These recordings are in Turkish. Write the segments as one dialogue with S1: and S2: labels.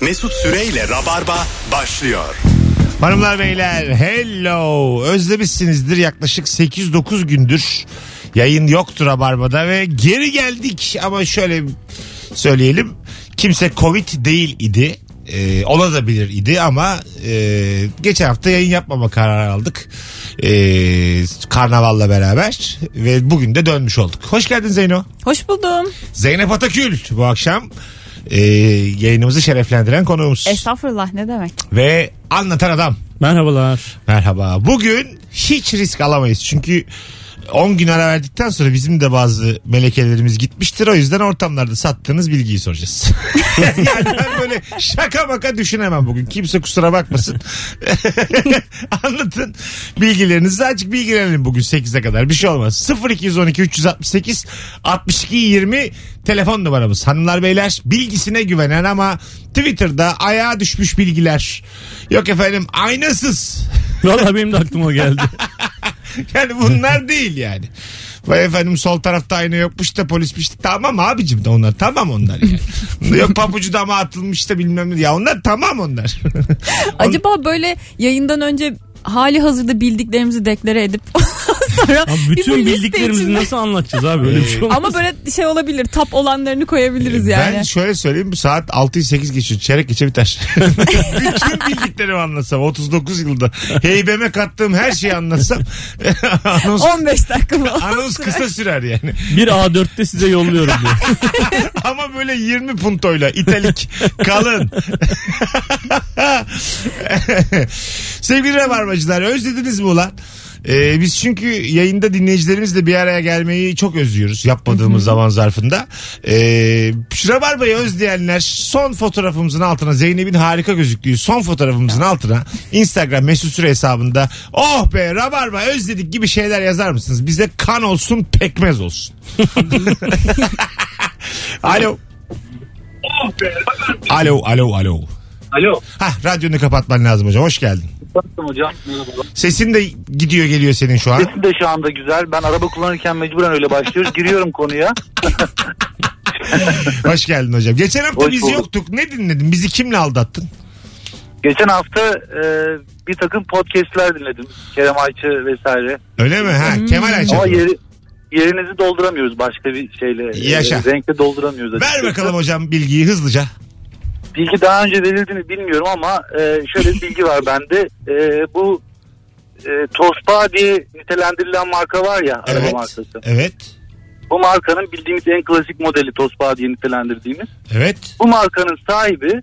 S1: Mesut Süreyle Rabarba başlıyor.
S2: Hanımlar beyler hello özlemişsinizdir yaklaşık 8-9 gündür yayın yoktur Rabarba'da ve geri geldik ama şöyle söyleyelim kimse covid değil idi Ee, olabilir idi ama e, geçen hafta yayın yapmama kararı aldık Ee, karnavalla beraber ve bugün de dönmüş olduk. Hoş geldin Zeyno.
S3: Hoş buldum.
S2: Zeynep Atakül bu akşam e, yayınımızı şereflendiren konuğumuz
S3: Estağfurullah ne demek?
S2: ve anlatan adam.
S4: Merhabalar.
S2: Merhaba. Bugün hiç risk alamayız. Çünkü 10 gün ara verdikten sonra bizim de bazı melekelerimiz gitmiştir. O yüzden ortamlarda sattığınız bilgiyi soracağız. yani ben böyle şaka maka düşünemem bugün. Kimse kusura bakmasın. Anlatın bilgilerinizi. Azıcık bilgilenelim bugün 8'e kadar. Bir şey olmaz. 0212 368 62 20 telefon numaramız. Hanımlar beyler bilgisine güvenen ama Twitter'da ayağa düşmüş bilgiler. Yok efendim aynasız.
S4: Valla benim de aklıma geldi.
S2: Yani bunlar değil yani. Vay efendim sol tarafta ayna yokmuş da polis pişti. Tamam abicim de onlar tamam onlar yani. Yok papucu dama atılmış da bilmem ne. Ya onlar tamam onlar.
S3: Acaba böyle yayından önce hali hazırda bildiklerimizi deklare edip sonra
S4: Abi
S3: bir bu
S4: bütün
S3: liste
S4: bildiklerimizi
S3: içinde-
S4: nasıl anlatacağız abi öyle bir şey olmaz.
S3: Ama böyle şey olabilir tap olanlarını koyabiliriz yani.
S2: Ben şöyle söyleyeyim bu saat 6'yı 8 geçiyor. Çeyrek geçe biter. Bütün bildiklerimi anlatsam 39 yılda heybeme kattığım her şeyi anlatsam anons,
S3: 15 dakika falan.
S2: anons kısa sürer yani.
S4: Bir A4'te size yolluyorum diyor.
S2: Ama böyle 20 puntoyla italik kalın. Sevgili Rabarbacılar özlediniz mi ulan? Ee, biz çünkü yayında dinleyicilerimizle bir araya gelmeyi çok özlüyoruz yapmadığımız zaman zarfında. Ee, şu Rabarba'yı özleyenler son fotoğrafımızın altına Zeynep'in harika gözüktüğü son fotoğrafımızın altına Instagram mesut süre hesabında oh be Rabarba özledik gibi şeyler yazar mısınız? Bize kan olsun pekmez olsun. Alo. Alo, alo, alo.
S5: Alo.
S2: Hah radyonu kapatman lazım hocam. Hoş geldin.
S5: Nasılsın hocam? Merhabalar.
S2: Sesin de gidiyor geliyor senin şu an.
S5: Sesi de şu anda güzel. Ben araba kullanırken mecburen öyle başlıyoruz. Giriyorum konuya.
S2: Hoş geldin hocam. Geçen hafta
S5: Hoş
S2: biz
S5: bulduk.
S2: yoktuk. Ne dinledin? Bizi kimle aldattın?
S5: Geçen hafta e, bir takım podcastler dinledim. Kerem Ayçı vesaire.
S2: Öyle mi? Ha, Kemal Ayça.
S5: Hmm. Ama yeri, yerinizi dolduramıyoruz başka bir şeyle. E,
S2: Yaşa.
S5: renkle dolduramıyoruz.
S2: Ver
S5: açıkçası.
S2: bakalım hocam bilgiyi hızlıca.
S5: Bilgi daha önce verildiğini bilmiyorum ama e, şöyle bir bilgi var bende. E, bu e, Tospa diye nitelendirilen marka var ya
S2: Evet.
S5: araba markası.
S2: Evet.
S5: Bu markanın bildiğimiz en klasik modeli Tospa diye nitelendirdiğimiz.
S2: Evet.
S5: Bu markanın sahibi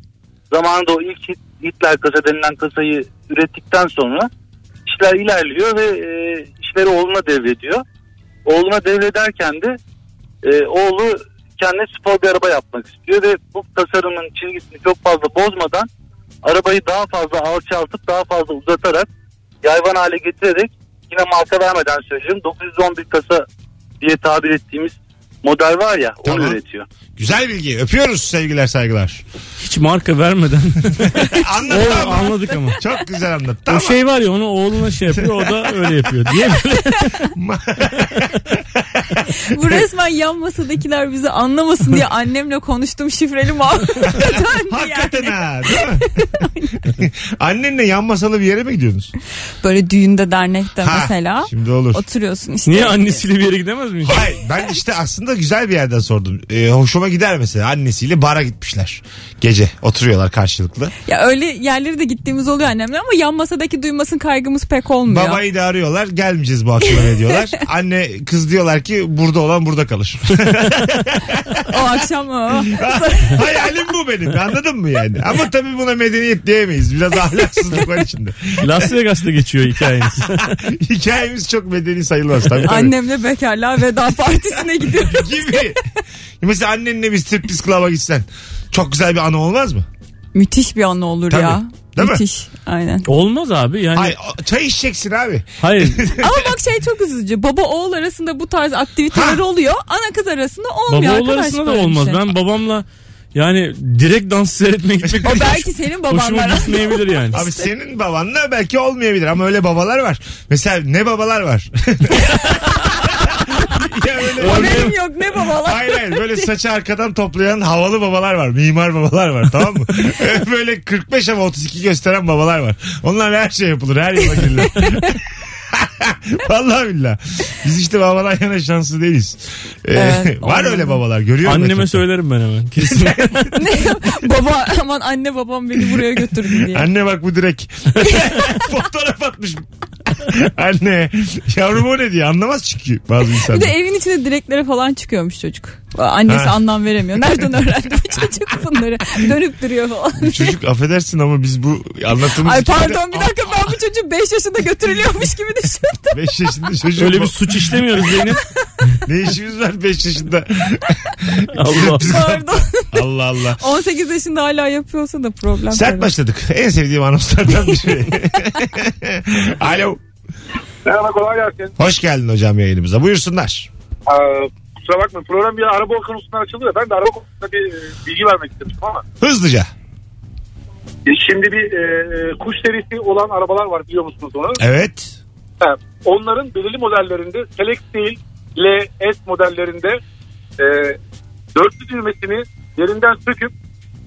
S5: zamanında o ilk Hit- Hitler kasa denilen kasayı ürettikten sonra işler ilerliyor ve e, işleri oğluna devrediyor. Oğluna devrederken de e, oğlu kendine spor bir araba yapmak istiyor ve bu tasarımın çizgisini çok fazla bozmadan arabayı daha fazla alçaltıp daha fazla uzatarak yayvan hale getirerek yine marka vermeden söylüyorum 911 kasa diye tabir ettiğimiz model var ya onu
S2: Tamam.
S5: üretiyor.
S2: Güzel bilgi. Öpüyoruz sevgiler saygılar.
S4: Hiç marka vermeden.
S2: Anladın
S4: o,
S2: ama.
S4: anladık ama.
S2: Çok güzel anlattı
S4: O
S2: ama
S4: şey var ya onu oğluna şey yapıyor o da öyle yapıyor diye.
S3: Bu resmen yan masadakiler bizi anlamasın diye annemle konuştum şifreli muhabbete döndü
S2: Hakikaten
S3: yani.
S2: ha. değil mi? Annenle yan masalı bir yere mi gidiyorsunuz?
S3: Böyle düğünde dernekte
S2: Ha,
S3: mesela
S2: Şimdi olur.
S3: oturuyorsun işte.
S4: Niye annesiyle bir yere gidemez mi?
S2: Hayır ben işte aslında güzel bir yerden sordum. Ee, hoşuma gider mesela annesiyle bara gitmişler. Gece oturuyorlar karşılıklı.
S3: Ya öyle yerlere de gittiğimiz oluyor annemle ama yan masadaki duymasın kaygımız pek olmuyor.
S2: Babayı da arıyorlar gelmeyeceğiz bu akşam eve diyorlar. Anne kız diyorlar ki burada olan burada kalır.
S3: O akşam o.
S2: Hayalim bu benim anladın mı yani? Ama tabii buna medeniyet diyemeyiz. Biraz ahlaksızlık var içinde.
S4: Las Vegas'ta geçiyor hikayeniz.
S2: Hikayemiz çok medeni sayılmaz tabii. tabii.
S3: Annemle bekarlığa veda partisine gidiyorum.
S2: Gibi. Mesela annenle bir striptiz klaba gitsen çok güzel bir anı olmaz mı?
S3: Müthiş bir anı olur
S2: Tabii.
S3: ya.
S2: Değil mi?
S3: Müthiş. Aynen.
S4: Olmaz abi yani.
S2: Ay, çay içeceksin abi.
S4: Hayır.
S3: Ama bak şey çok üzücü. Baba oğul arasında bu tarz aktiviteler
S2: Ha.
S3: oluyor. Ana kız arasında olmuyor.
S4: Baba oğul
S3: arkadaş
S4: arasında da
S3: böyle bir
S4: olmaz.
S3: şey.
S4: Ben babamla yani direkt dans seyretmeye gitmek
S3: O belki senin
S4: hoşuma
S3: babanlar.
S4: gitmeyebilir yani.
S2: Abi senin babanla belki olmayabilir ama öyle babalar var. Mesela ne babalar var? ya öyle.
S3: Haberim yok ne babalar.
S2: Hayır hayır böyle saçı arkadan toplayan havalı babalar var. Mimar babalar var tamam mı? böyle 45 ama 32 gösteren babalar var. Onlar her şey yapılır her yola girilir. Vallahi billah. Biz işte babalar yana şanslı değiliz. Ee,
S3: Evet,
S2: var
S3: anladım.
S2: öyle babalar görüyorum.
S4: Anneme
S2: etrafta.
S4: söylerim ben hemen. Kesin.
S3: Baba aman anne babam beni buraya götürdü diye.
S2: Anne bak bu direk. Fotoğraf atmış. Anne yavrum o ne diye anlamaz çünkü bazı
S3: Bir de
S2: insanlar.
S3: evin içinde direklere falan çıkıyormuş çocuk. Annesi
S2: Ha.
S3: anlam veremiyor. Nereden öğrendi bu çocuk bunları? Dönüp duruyor falan.
S2: Çocuk affedersin ama biz bu anlattığımız
S3: Ay
S2: hikayede
S3: pardon bir dakika ben bu çocuğu 5 yaşında götürülüyormuş gibi düşündüm.
S2: 5 yaşında çocuk
S4: Öyle
S2: bu.
S4: bir suç işlemiyoruz Zeynep.
S2: Ne işimiz var 5 yaşında?
S4: Allah.
S3: Pardon.
S2: Allah Allah.
S3: 18 yaşında hala yapıyorsa da problem.
S2: Sert
S3: tabii.
S2: başladık. En sevdiğim anonslardan biri. Alo.
S5: Merhaba kolay gelsin.
S2: Hoş geldin hocam yayınımıza. Buyursunlar.
S5: Ee, kusura bakma program bir araba konusundan açıldı da ben de araba konusunda bir e, bilgi vermek istemiştim ama.
S2: Hızlıca.
S5: e, Şimdi bir e, kuş derisi olan arabalar var biliyor musunuz onu?
S2: Evet.
S5: Ha, onların belirli modellerinde Select değil L, S modellerinde e, dörtlü düğmesini yerinden söküp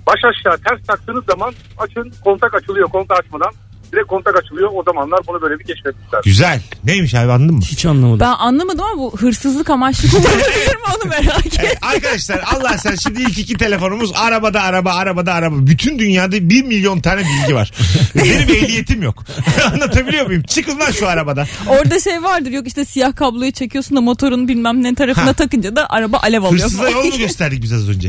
S5: baş aşağı ters taktığınız zaman açın kontak açılıyor kontak açmadan. Direkt kontak açılıyor o zamanlar bunu böyle bir keşfetmişler.
S2: Güzel. Neymiş abi anladın mı?
S4: Hiç anlamadım.
S3: Ben anlamadım ama bu hırsızlık amaçlı kullanılabilir mi onu merak ettim.
S2: Evet, arkadaşlar Allah sen şimdi ilk iki telefonumuz arabada araba arabada araba. Bütün dünyada bir milyon tane bilgi var. Benim ehliyetim yok. Anlatabiliyor muyum? Çıkın lan şu arabadan.
S3: Orada şey vardır yok işte siyah kabloyu çekiyorsun da motorun bilmem ne tarafına
S2: Ha.
S3: takınca da araba alev alıyor.
S2: Hırsıza yol mu gösterdik biz az önce?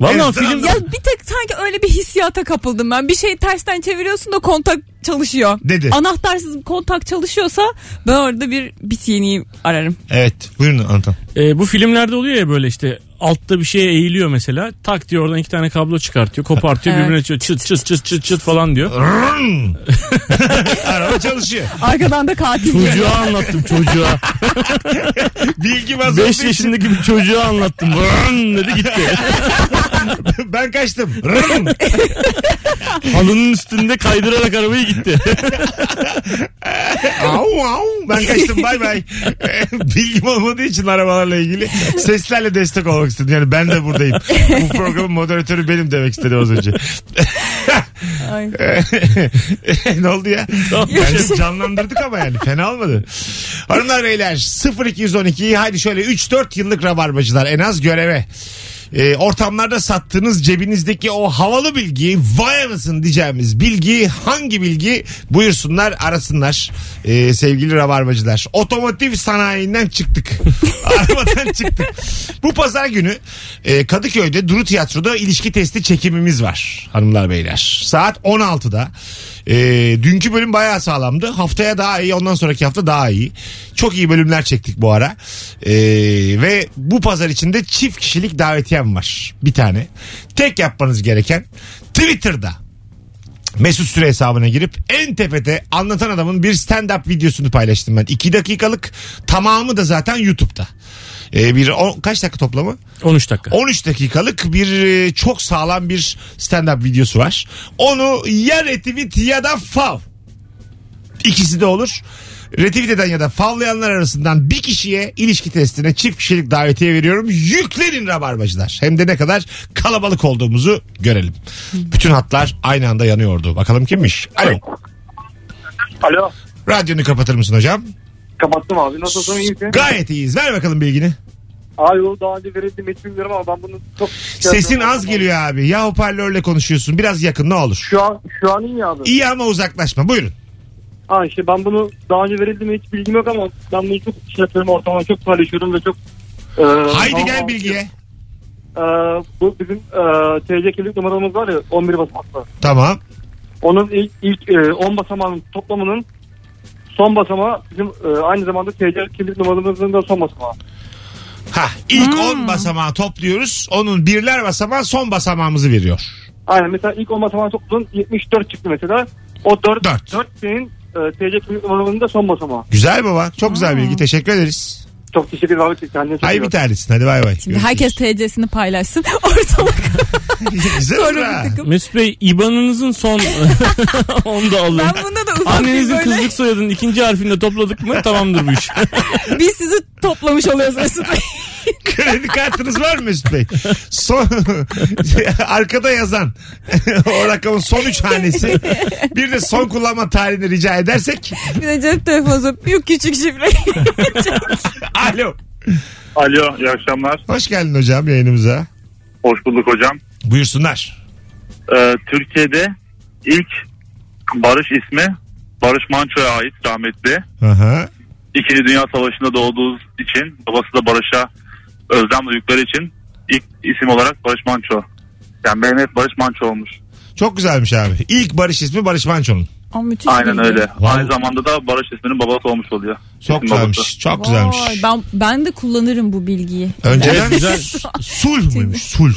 S4: Vallahi
S2: Evet,
S4: film
S3: ya bir tek sanki öyle bir hissiyata kapıldım ben. Bir şeyi tersten çeviriyorsun da kontak çalışıyor.
S2: Dedi.
S3: Anahtarsız kontak çalışıyorsa ben orada bir bit yeniği ararım.
S2: Evet. Buyurun Anton.
S4: Ee, bu filmlerde oluyor ya böyle işte altta bir şeye eğiliyor mesela. Tak diyor oradan iki tane kablo çıkartıyor. Kopartıyor
S3: Evet.
S4: birbirine çıt çıt çıt çıt çıt çıt falan diyor.
S2: Rrrn. Araba çalışıyor.
S3: Arkadan da katil geliyor.
S4: Çocuğa anlattım çocuğa.
S2: Bilgi bazı
S4: 5 yaşındaki bir çocuğa anlattım. Vrın dedi gitti.
S2: Ben kaçtım. Rrrn.
S4: Halının üstünde kaydırarak arabayı gitti.
S2: Au au. Ben kaçtım bay bay. Bilgim olmadığı için arabalarla ilgili seslerle destek olmak istedim. Yani ben de buradayım. Bu programın moderatörü benim demek istedi az önce.
S3: Ay.
S2: ne oldu ya?
S4: Tamam.
S2: Yani canlandırdık ama yani fena olmadı. Hanımlar beyler 0212 hadi şöyle 3-4 yıllık rabarbacılar en az göreve. Ee, ortamlarda sattığınız cebinizdeki o havalı bilgiyi vay anasın diyeceğimiz bilgi hangi bilgi buyursunlar arasınlar Ee, sevgili rabarbacılar. Otomotiv sanayinden çıktık. Arabadan çıktık. Bu pazar günü e, Kadıköy'de Duru Tiyatro'da ilişki testi çekimimiz var hanımlar beyler. Saat 16'da. E, dünkü bölüm bayağı sağlamdı. Haftaya daha iyi ondan sonraki hafta daha iyi. Çok iyi bölümler çektik bu ara. E, ve bu pazar içinde çift kişilik davetiyem var. Bir tane. Tek yapmanız gereken Twitter'da Mesut Süre hesabına girip en tepede anlatan adamın bir stand-up videosunu paylaştım ben. 2 dakikalık tamamı da zaten YouTube'da. E, bir o, kaç dakika toplamı?
S4: 13 dakika.
S2: 13 dakikalık bir e, çok sağlam bir stand-up videosu var. Onu ya retweet ya da fav. İkisi de olur. Retweet eden ya da favlayanlar arasından bir kişiye ilişki testine çift kişilik davetiye veriyorum. Yüklenin rabarbacılar. Hem de ne kadar kalabalık olduğumuzu görelim. Bütün hatlar aynı anda yanıyordu. Bakalım kimmiş? Alo.
S5: Alo
S2: Radyonu kapatır mısın hocam?
S5: kapattım abi nasılsın iyi misin?
S2: Gayet iyiyiz. Ver bakalım bilgini.
S5: Abi o daha önce verildi metin bilmiyorum ama ben bunu çok...
S2: Sesin az geliyor abi. Ya hoparlörle konuşuyorsun. Biraz yakın ne olur.
S5: Şu an, şu an iyi abi.
S2: İyi ama uzaklaşma. Buyurun.
S5: Ha işte ben bunu daha önce verildi mi hiç bilgim yok ama ben bunu çok
S6: şey
S5: işletiyorum ortamda çok paylaşıyorum ve çok... e,
S2: Haydi gel
S5: ama-
S2: bilgiye.
S5: E, bu bizim e, TC kimlik numaramız var ya 11 basamaklı.
S2: Tamam.
S5: Onun ilk, ilk e, 10 basamağının toplamının son basamağı bizim e, aynı zamanda TC kimlik numaramızın da son basamağı.
S2: Ha, ilk
S3: Hmm.
S2: 10 basamağı topluyoruz. Onun birler basamağı son basamağımızı veriyor.
S5: Aynen mesela ilk 10 basamağı topladın 74 çıktı mesela. O 4,
S2: Dört.
S5: 4. senin e, TC kimlik numaranın da son basamağı.
S3: Hmm.
S2: Güzel baba. Çok güzel bilgi. Teşekkür ederiz.
S6: Çok teşekkür ederim. Ahmet Bey. Kendine çok iyi
S2: Ay
S6: bak.
S2: bir tanesin hadi bay bay.
S3: Şimdi herkes TC'sini paylaşsın. Ortalık
S2: Güzel olur
S3: sonra
S2: ha.
S3: bir takım.
S4: Mesut Bey IBAN'ınızın son onu da alın.
S3: Ben bunda da ufak bir
S4: Annenizin
S3: böyle
S4: kızlık soyadının ikinci harfini de topladık mı tamamdır bu iş.
S3: biz sizi toplamış oluyoruz Mesut Bey.
S2: Kredi kartınız var mı Mesut Bey? Son, arkada yazan o rakamın son üç hanesi. Bir de son kullanma tarihini rica edersek.
S3: Bir de cep telefonunuza büyük küçük şifre.
S2: Alo.
S5: Alo iyi akşamlar.
S2: Hoş geldin hocam yayınımıza.
S5: Hoş bulduk hocam.
S2: Buyursunlar.
S5: Ee, Türkiye'de ilk Barış ismi Barış Manço'ya ait rahmetli.
S2: Aha.
S5: İkinci Dünya Savaşı'nda doğduğu için babası da Barış'a özlem duydukları için ilk isim olarak Barış Manço. Yani Mehmet Barış Manço olmuş.
S2: Çok güzelmiş abi. İlk Barış ismi Barış Manço'nun.
S3: Aa, müthiş
S5: Aynen
S3: bilgi.
S5: öyle.
S2: Vay.
S5: Aynı zamanda da Barış isminin babası olmuş oluyor.
S2: Çok
S5: İsim babası.
S2: güzelmiş. Çok
S3: Vay,
S2: güzelmiş.
S3: ben, ben de kullanırım bu bilgiyi.
S2: Önceden
S4: Güzel.
S2: sulh muymuş? Sulh.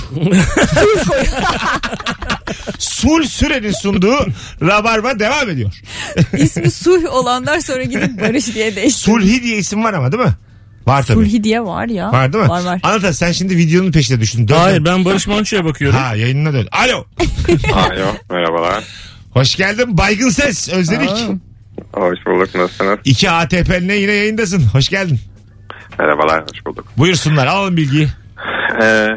S2: Sul sürenin sunduğu Rabarba devam ediyor.
S3: İsmi Suh olanlar sonra gidip Barış diye değişti.
S2: Sulhi diye isim var ama değil mi? Var tabii.
S3: Sulhi diye var ya.
S2: Var değil mi?
S3: Var var.
S2: Anlatan sen şimdi videonun peşine düştün. Dön
S4: Hayır
S2: dön.
S4: ben Barış Manço'ya bakıyorum.
S2: Ha yayınına dön. Alo.
S7: Alo merhabalar.
S2: Hoş geldin Baygın Ses. Özledik.
S7: Hoş bulduk nasılsınız?
S2: İki ATP'line yine yayındasın. Hoş geldin.
S7: Merhabalar hoş bulduk.
S2: Buyursunlar alalım bilgiyi.
S7: Ee,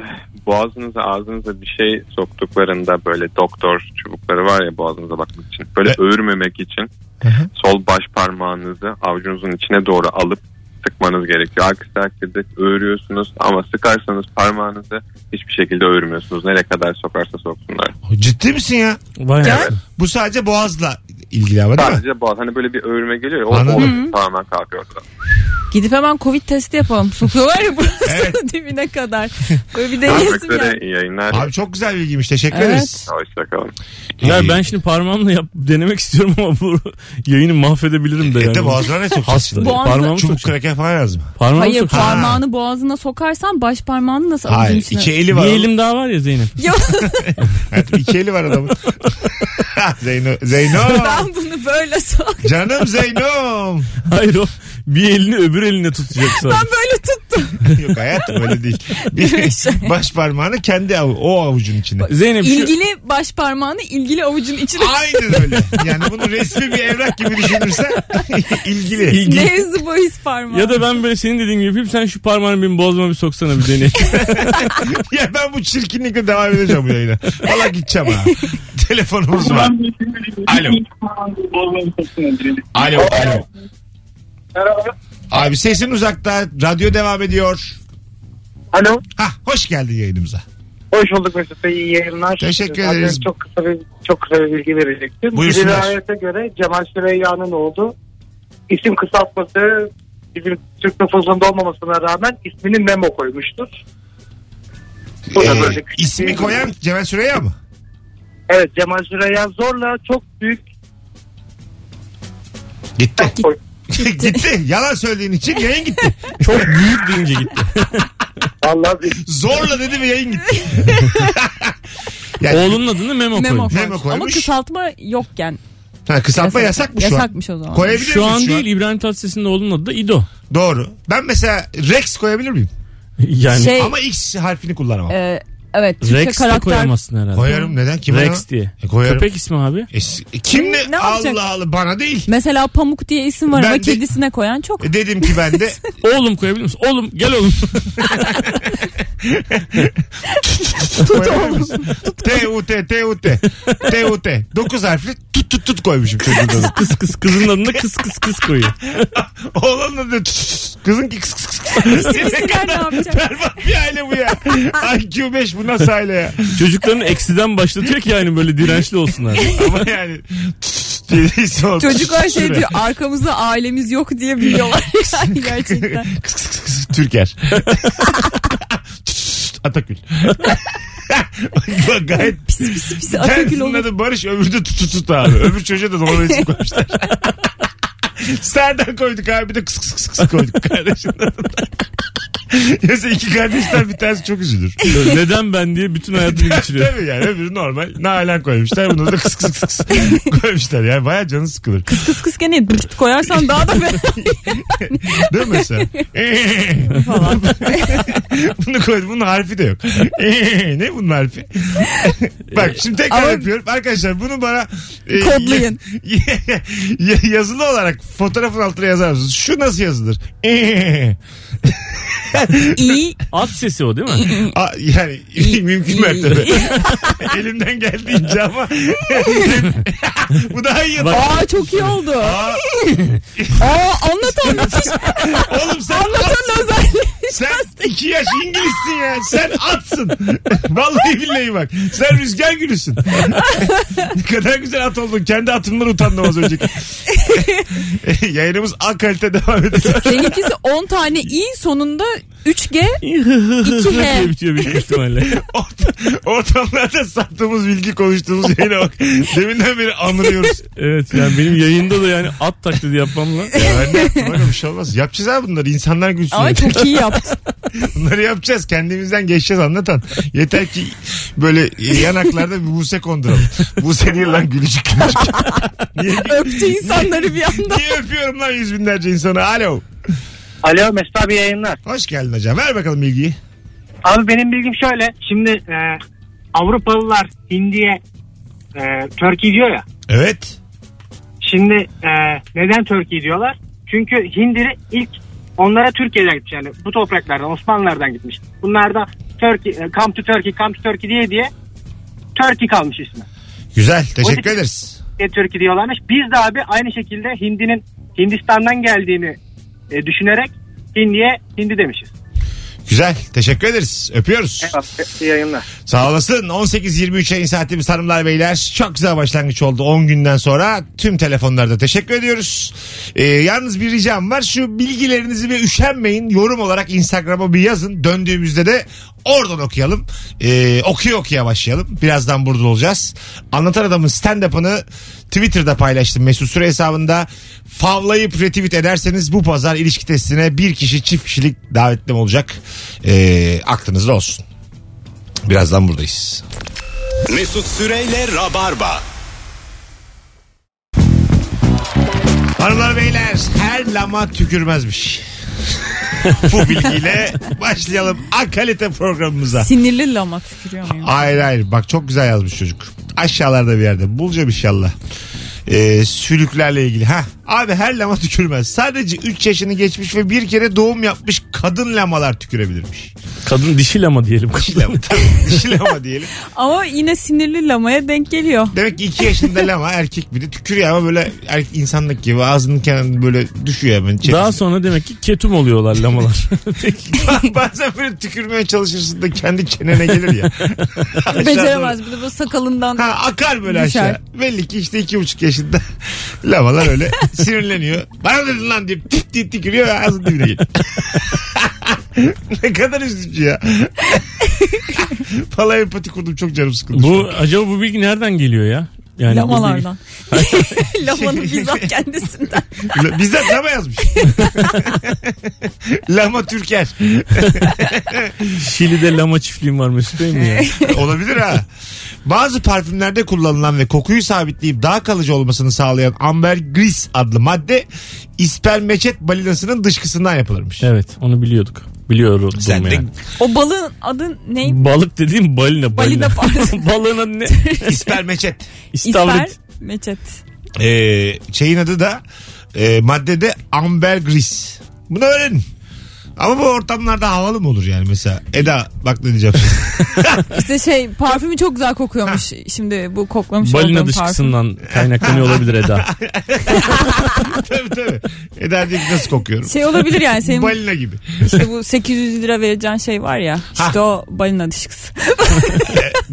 S7: boğazınıza ağzınıza bir şey soktuklarında böyle doktor çubukları var ya boğazınıza bakmak için. Böyle
S2: Evet.
S7: öğürmemek için
S2: Hı hı.
S7: sol baş parmağınızı avucunuzun içine doğru alıp sıkmanız gerekiyor. Aksi takdirde öğürüyorsunuz ama sıkarsanız parmağınızı hiçbir şekilde öğürmüyorsunuz. Nereye kadar sokarsa soksunlar.
S2: Ciddi misin ya?
S4: Vay
S3: Can?
S4: anasını.
S2: Bu sadece boğazla ilgili ama değil mi?
S7: Sadece boğaz hani böyle bir öğürme geliyor ya o,
S2: Anladım.
S7: o tamamen kalkıyor ortadan.
S3: Gidip hemen Covid testi yapalım. Sokuyorlar ya burası
S2: Evet.
S3: dibine kadar. Böyle bir
S7: Görüşmek
S3: deneyesim ya.
S7: üzere iyi yayınlar.
S2: Abi çok güzel bilgiymiş. Teşekkür
S3: Evet.
S2: ederiz.
S7: Hoşçakalın.
S4: Ya ben şimdi parmağımla yap, denemek istiyorum ama bu yayını mahvedebilirim de.
S2: E
S4: Yani.
S2: de boğazına ne sokacaksın?
S4: Hasta.
S2: şimdi?
S3: Boğazı-
S4: Parmağımı
S2: Çubuk
S4: sokacağım.
S2: kraker falan lazım.
S4: Parmağımı
S3: Hayır
S4: sokacağım.
S3: parmağını boğazına sokarsan baş parmağını nasıl alacaksın
S2: Hayır
S3: içine?
S2: iki eli var.
S4: Bir elim daha var ya Zeynep.
S3: Ya
S2: Evet, iki eli var adamın. Zeyno. Zeyno.
S3: ben bunu böyle sok.
S2: Canım Zeynom.
S4: Hayır o bir elini öbür eline tutacak
S3: Ben
S4: sadece.
S3: böyle tuttum.
S2: Yok hayatım öyle değil. Bir- şey. baş parmağını kendi av- o avucun içine.
S4: Zeynep şu
S3: İlgili baş parmağını ilgili avucun içine.
S2: Aynen öyle. Yani bunu resmi bir evrak gibi düşünürsen ilgili.
S4: ilgi-
S3: Mevzu bahis parmağı.
S4: Ya da ben böyle senin dediğin gibi yapayım sen şu parmağını benim boğazıma bir soksana bir deneyim.
S2: Ya ben bu çirkinlikle devam edeceğim bu yayına. Valla gideceğim ha. Telefonumuz var. Alo. Alo. Alo.
S6: Merhaba.
S2: Abi sesin uzakta. Radyo devam ediyor.
S6: Alo.
S2: Hah hoş geldin yayınımıza.
S6: Hoş bulduk Mesut Bey. İyi yayınlar.
S2: Teşekkür
S6: Zaten
S2: ederiz.
S6: Çok kısa bir, çok kısa bir bilgi verecektim.
S2: Buyursunlar.
S6: Bir rivayete göre Cemal Süreyya'nın oğlu isim kısaltması bizim Türk nüfusunda olmamasına rağmen ismini Memo koymuştur. Bu da böyle
S2: Ee,
S6: küçük
S2: ismi
S6: bir-
S2: koyan Cemal Süreyya mı?
S6: Evet Cemal Süreyya zorla çok büyük
S2: Gitti. gitti. Yalan söylediğin için yayın gitti.
S4: Çok büyük deyince gitti.
S6: vallahi bir-
S2: Zorla dedi ve yayın gitti. yani,
S4: Oğlunun adını Memo,
S3: Memo,
S4: koymuş.
S2: Memo
S3: Ama
S2: koymuş.
S3: kısaltma yokken.
S2: Ha, kısaltma yasak mı şu an?
S3: Yasakmış o zaman.
S2: Koyabilir
S4: Şu
S2: miyiz
S4: an değil İbrahim Tatlıses'in de oğlunun adı da İdo.
S2: Doğru. Ben mesela Rex koyabilir miyim?
S4: Yani
S3: Şey,
S2: Ama X harfini kullanamam.
S3: e, evet Türkçe
S4: Rex de
S3: karakter.
S4: koyamazsın herhalde.
S2: Koyarım neden? Kim
S4: Rex diye.
S2: E, koyarım.
S4: Köpek ismi abi.
S2: E, s- kim ne?
S3: Ne yapacak?
S2: Allah Allah bana değil.
S3: Mesela pamuk diye isim var
S2: Ben
S3: ama
S2: de-
S3: kedisine koyan çok.
S2: E, dedim ki ben de
S4: Oğlum koyabilir misin? Oğlum gel oğlum.
S2: koyamıyoruz. E, T U T T U T T U T 9 harfli tut tut tut koymuşum çocuğun adına.
S4: kız kız kızın adını kız kız kız koyuyor.
S2: Oğlanın adı tut, tut, tut. kızın ki kıs kıs kıs. Ne
S3: Kedisine ne
S2: kadar
S3: yapacak?
S2: berbat bir aile bu ya. IQ 5 bu nasıl aile ya?
S4: Çocukların eksiden başlatıyor ki yani böyle dirençli olsunlar.
S2: Ama yani tut, tut diye değilse o
S3: Çocuklar
S2: tut
S3: şey
S2: şuraya.
S3: diyor arkamızda ailemiz yok diye biliyorlar yani gerçekten.
S2: Kıs kıs kıs kıs Türker. Tut, Atakül. Bak Gayet
S3: Pis Atakül
S2: Tersinin
S3: olur.
S2: adı Barış öbürü de tutu tut abi. Öbür çocuğa da normal isim koymuşlar. Serdar koyduk abi bir de kıs kıs kıs kıs koyduk kardeşinin adına. Yoksa iki kardeşten bir tanesi çok üzülür.
S4: Neden ben diye bütün hayatını geçiriyor.
S2: Tabii yani öbürü normal. Nalen koymuşlar. Bunu da kıs kıs kıs kıs koymuşlar. Yani baya canı sıkılır.
S3: Kıs kıs gene bıkıt koyarsan daha da be.
S2: Değil mi mesela? bunu koydum. Bunun harfi de yok. Ee, ne bunun harfi? Bak şimdi tekrar
S3: Ama-
S2: yapıyorum. Arkadaşlar bunu bana e,
S3: Kodlayın.
S2: ya- ya- yazılı olarak fotoğrafın altına yazar mısınız? Şu nasıl yazılır? Ee,
S3: İyi.
S4: At sesi o değil mi?
S2: A- yani mümkün mertebe. Elimden geldiğince ama bu daha iyi.
S4: Bak-
S3: Aa çok iyi oldu.
S2: Aa,
S3: Aa anlatan müthiş.
S2: oğlum sen
S3: Anlatan özelliği.
S2: Sen iki yaş İngilizsin ya. Sen atsın. Vallahi billahi bak. Sen rüzgar gülüsün. ne kadar güzel at oldun. Kendi atımdan utandım az önceki. Yayınımız A kalite devam ediyor.
S3: Seninkisi 10 tane i sonunda 3G
S4: diye bitiyor büyük ihtimalle.
S2: Orta, ortamlarda sattığımız bilgi konuştuğumuz yayına bak. Deminden beri anlıyoruz.
S4: Evet yani benim yayında da yani at taklidi yapmamla.
S2: Ya E ben ne yaptım? Öyle bir şey olmaz. Yapacağız abi bunları. İnsanlar gülsün.
S3: Ama çok iyi yaptı.
S2: Bunları yapacağız. Kendimizden geçeceğiz anlatan. Yeter ki böyle yanaklarda bir buse konduralım. Buse değil lan gülücük gülücük. Niye,
S3: Öptü insanları bir anda.
S2: niye öpüyorum lan yüz binlerce insanı? Alo.
S6: Alo Mesut abi yayınlar.
S2: Hoş geldin hocam. Ver bakalım bilgiyi.
S6: Abi benim bilgim şöyle. Şimdi e, Avrupalılar Hindi'ye e, Turkey diyor ya.
S2: Evet.
S6: Şimdi e, neden Turkey diyorlar? Çünkü Hindiri ilk onlara Türkiye'den gitmiş yani bu topraklardan Osmanlılardan gitmiş. Bunlar da Turkey, e, come to Turkey, come to Turkey diye diye Turkey kalmış ismi.
S2: Güzel. Teşekkür
S6: Hoş-
S2: ederiz.
S6: diye Turkey diyorlarmış. Biz de abi aynı şekilde Hindi'nin Hindistan'dan geldiğini e, düşünerek Hindi'ye Hindi demişiz.
S2: Güzel. Teşekkür ederiz. Öpüyoruz.
S6: Evet, iyi yayınlar.
S2: Sağ olasın. 18-23 yayın saatimiz hanımlar beyler. Çok güzel başlangıç oldu 10 günden sonra. Tüm telefonlarda teşekkür ediyoruz. Ee, yalnız bir ricam var. Şu bilgilerinizi bir üşenmeyin. Yorum olarak Instagram'a bir yazın. Döndüğümüzde de oradan okuyalım. Ee, okuya okuya başlayalım. Birazdan burada olacağız. Anlatan Adam'ın stand-up'ını Twitter'da paylaştım. Mesut Süre hesabında favlayıp retweet ederseniz bu pazar ilişki testine bir kişi çift kişilik davetlim olacak. Ee, aklınızda olsun. Birazdan buradayız.
S1: Mesut Süreyle Rabarba.
S2: Hanımlar beyler her lama tükürmezmiş. Bu bilgiyle başlayalım akalite programımıza.
S3: Sinirli lama tükürüyor muyum?
S2: Hayır hayır bak çok güzel yazmış çocuk. Aşağılarda bir yerde bulacağım inşallah. Ee, sülüklerle ilgili. Ha abi her lama tükürmez. Sadece 3 yaşını geçmiş ve bir kere doğum yapmış kadın lamalar tükürebilirmiş.
S4: Kadın dişil ama diyelim.
S2: Dişi lama, tabii, dişi lama diyelim.
S3: Ama yine sinirli lamaya denk geliyor.
S2: Demek ki 2 yaşında lama erkek biri tükürüyor ama böyle erkek insanlık gibi ağzının kenarında böyle düşüyor hemen. çenesine.
S4: Daha sonra demek ki ketum oluyorlar lamalar.
S2: Bazen böyle tükürmeye çalışırsın da kendi çenene gelir ya. Aşağı
S3: Beceremez bir şey. de böyle sakalından.
S2: doğru. Ha akar böyle
S3: Düşer.
S2: aşağı. Belli ki işte iki buçuk yaşında lavalar öyle sinirleniyor. Bana dedin lan diye pip diye tükürüyor ve ağzının dibine geliyor. ne kadar üzücü ya. Vallahi empati kurdum çok canım sıkıldı.
S4: bu acaba bu bilgi nereden geliyor ya? Yani bu
S3: Lamalardan. Lamanın bizzat kendisinden.
S2: La- Bizzat lama yazmış. lama Türker.
S4: bilgi- Şili'de lama çiftliğim var Mesut Bey mi ya?
S2: Olabilir ha. Bazı parfümlerde kullanılan ve kokuyu sabitleyip daha kalıcı olmasını sağlayan ambergris adlı madde ispermeçet balinasının dışkısından yapılırmış.
S4: Evet onu biliyorduk. Biliyorum
S2: Sen de
S4: yani.
S3: O balığın adı ne?
S4: Balık dediğim balina.
S3: Balina
S4: balina.
S3: pardon.
S4: Balığın adı ne?
S2: ispermeçet.
S3: İsper
S4: İstavrit.
S3: meçet.
S2: Ee, şeyin adı da e, maddede ambergris. Bunu öğrenin. Ama bu ortamlarda havalı mı olur yani mesela? Eda bak ne diyeceğim.
S3: İşte şey parfümü çok güzel kokuyormuş. Şimdi bu koklamış
S4: Balina
S3: olduğum parfüm.
S4: dışkısından kaynaklanıyor olabilir Eda.
S2: tabii tabii. Eda diyecek nasıl kokuyorum?
S3: Şey olabilir yani senin
S2: Balina gibi.
S3: işte bu 800 lira vereceğin şey var ya. İşte o balina dışkısı.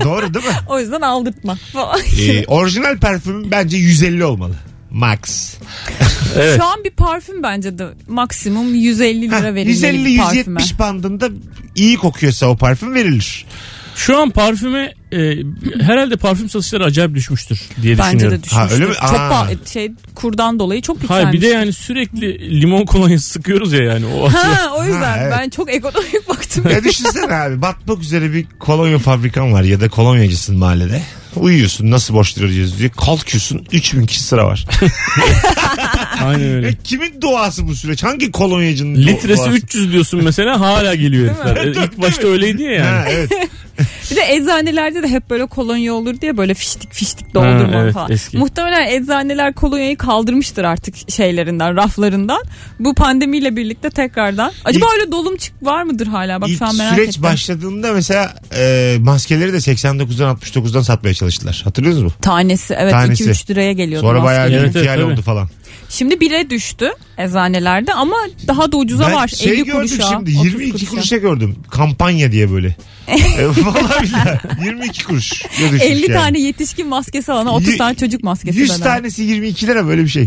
S2: Doğru değil mi?
S3: O yüzden aldırtma falan.
S2: Ee, orijinal parfüm bence 150 olmalı. Max.
S4: Evet.
S3: Şu an bir parfüm bence de maksimum 150
S2: Ha,
S3: lira verilmeli bir parfüme.
S2: 150-170 bandında iyi kokuyorsa o parfüm verilir.
S4: Şu an parfüme e, herhalde parfüm satışları acayip düşmüştür diye
S3: Bence de
S4: düşünüyorum.
S3: düşmüştür.
S2: Ha, öyle mi?
S3: Çok
S2: Aa.
S3: pahalı- şey kurdan dolayı çok yükselmiş.
S4: Hayır bir de yani sürekli limon kolonyası sıkıyoruz ya yani. O
S3: Ha o yüzden
S2: Ha, evet.
S3: ben çok ekonomik baktım.
S2: Ya düşünsene abi batmak üzere bir kolonya fabrikan var ya da kolonyacısın mahallede. Uyuyorsun nasıl boş duruyoruz diye kalkıyorsun 3000 kişi sıra var.
S4: Aynen öyle.
S2: E, kimin doğası bu süreç? Hangi kolonyacının do-
S4: Litresi
S2: doğası?
S4: 300 diyorsun mesela hala geliyor herifler.
S2: Değil mi?
S4: E, İlk başta öyleydi ya
S2: Ha,
S4: yani.
S2: evet.
S3: Bir de eczanelerde de hep böyle kolonya olur diye böyle fiştik fiştik doldurma
S4: Ha, evet,
S3: falan.
S4: eski.
S3: Muhtemelen eczaneler kolonyayı kaldırmıştır artık şeylerinden, raflarından. Bu pandemiyle birlikte tekrardan. Acaba
S2: İlk-
S3: öyle dolum çık var mıdır hala? Bak
S2: İlk
S3: şu an merak
S2: süreç
S3: ettim.
S2: başladığında mesela e, maskeleri de 89'dan 69'dan satmaya çalıştılar. Hatırlıyorsunuz mu?
S3: Tanesi evet
S2: Tanesi.
S3: 2-3 liraya geliyordu.
S2: Sonra
S3: maske.
S2: bayağı bir
S4: Evet, evet,
S2: infial
S4: tabii.
S2: oldu falan.
S3: Şimdi bire düştü eczanelerde ama daha da ucuza
S2: Ben
S3: var.
S2: şey
S3: 50
S2: gördüm
S3: kuruşa.
S2: şimdi
S3: 30
S2: 22 kuruşa. gördüm. Kampanya diye böyle. e, vallahi billahi 22 kuruş.
S3: 50 tane yetişkin maskesi alana 30 tane çocuk maskesi
S2: 100
S3: bedava.
S2: tanesi 22 lira böyle bir şey.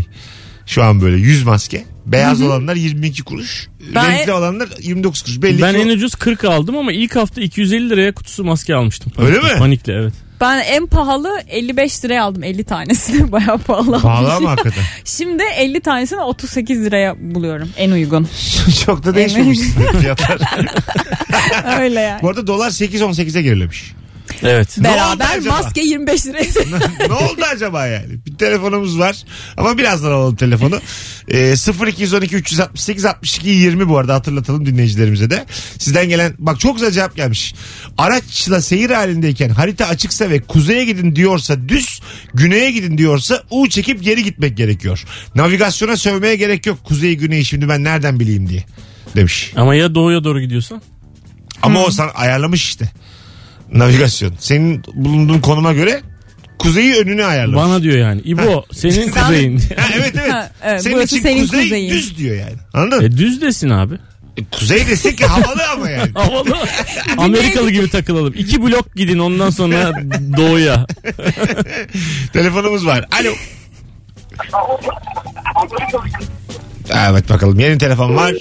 S2: Şu an böyle 100 maske. Beyaz olanlar 22 kuruş.
S3: Ben-
S2: Renkli olanlar 29 kuruş. Belli
S4: Ben
S2: ki o-
S4: en ucuz 40 aldım ama ilk hafta 250 liraya kutusu maske almıştım.
S2: Öyle mi?
S4: Panikle evet.
S3: Ben en pahalı 55 liraya aldım 50 tanesini bayağı pahalı.
S2: Pahalı
S3: almışım.
S2: ama hakikaten.
S3: Şimdi 50 tanesini 38 liraya buluyorum en uygun.
S2: Çok da değişmemiş fiyatlar.
S3: Öyle yani.
S2: Bu arada dolar 8-18'e gerilemiş.
S4: Evet.
S2: Ne oldu
S3: Beraber
S2: acaba?
S3: maske 25 liraya.
S2: ne oldu acaba yani? Bir telefonumuz var ama birazdan alalım telefonu. Ee, 0212 368 62 20 bu arada hatırlatalım dinleyicilerimize de. Sizden gelen bak çok güzel cevap gelmiş. Araçla seyir halindeyken harita açıksa ve kuzeye gidin diyorsa düz, güneye gidin diyorsa U çekip geri gitmek gerekiyor. Navigasyona sövmeye gerek yok. Kuzeyi güneyi şimdi ben nereden bileyim diye demiş.
S4: Ama ya doğuya doğru gidiyorsan?
S2: Ama o sana ayarlamış işte. Navigasyon. Senin bulunduğun konuma göre kuzeyi önüne ayarlamış.
S4: Bana diyor yani. İbo senin
S3: Sen-
S4: kuzeyin.
S2: Ha, evet evet.
S3: Ha, evet,
S2: senin
S3: burası
S2: için
S3: senin
S2: kuzey
S3: kuzeyin.
S2: düz diyor yani. Anladın?
S4: E düz desin abi.
S2: E, kuzey desek ki havalı ama yani.
S4: Havalı. Amerikalı gibi takılalım. İki blok gidin ondan sonra doğuya.
S2: Telefonumuz var. Alo. Evet bakalım yeni telefon var.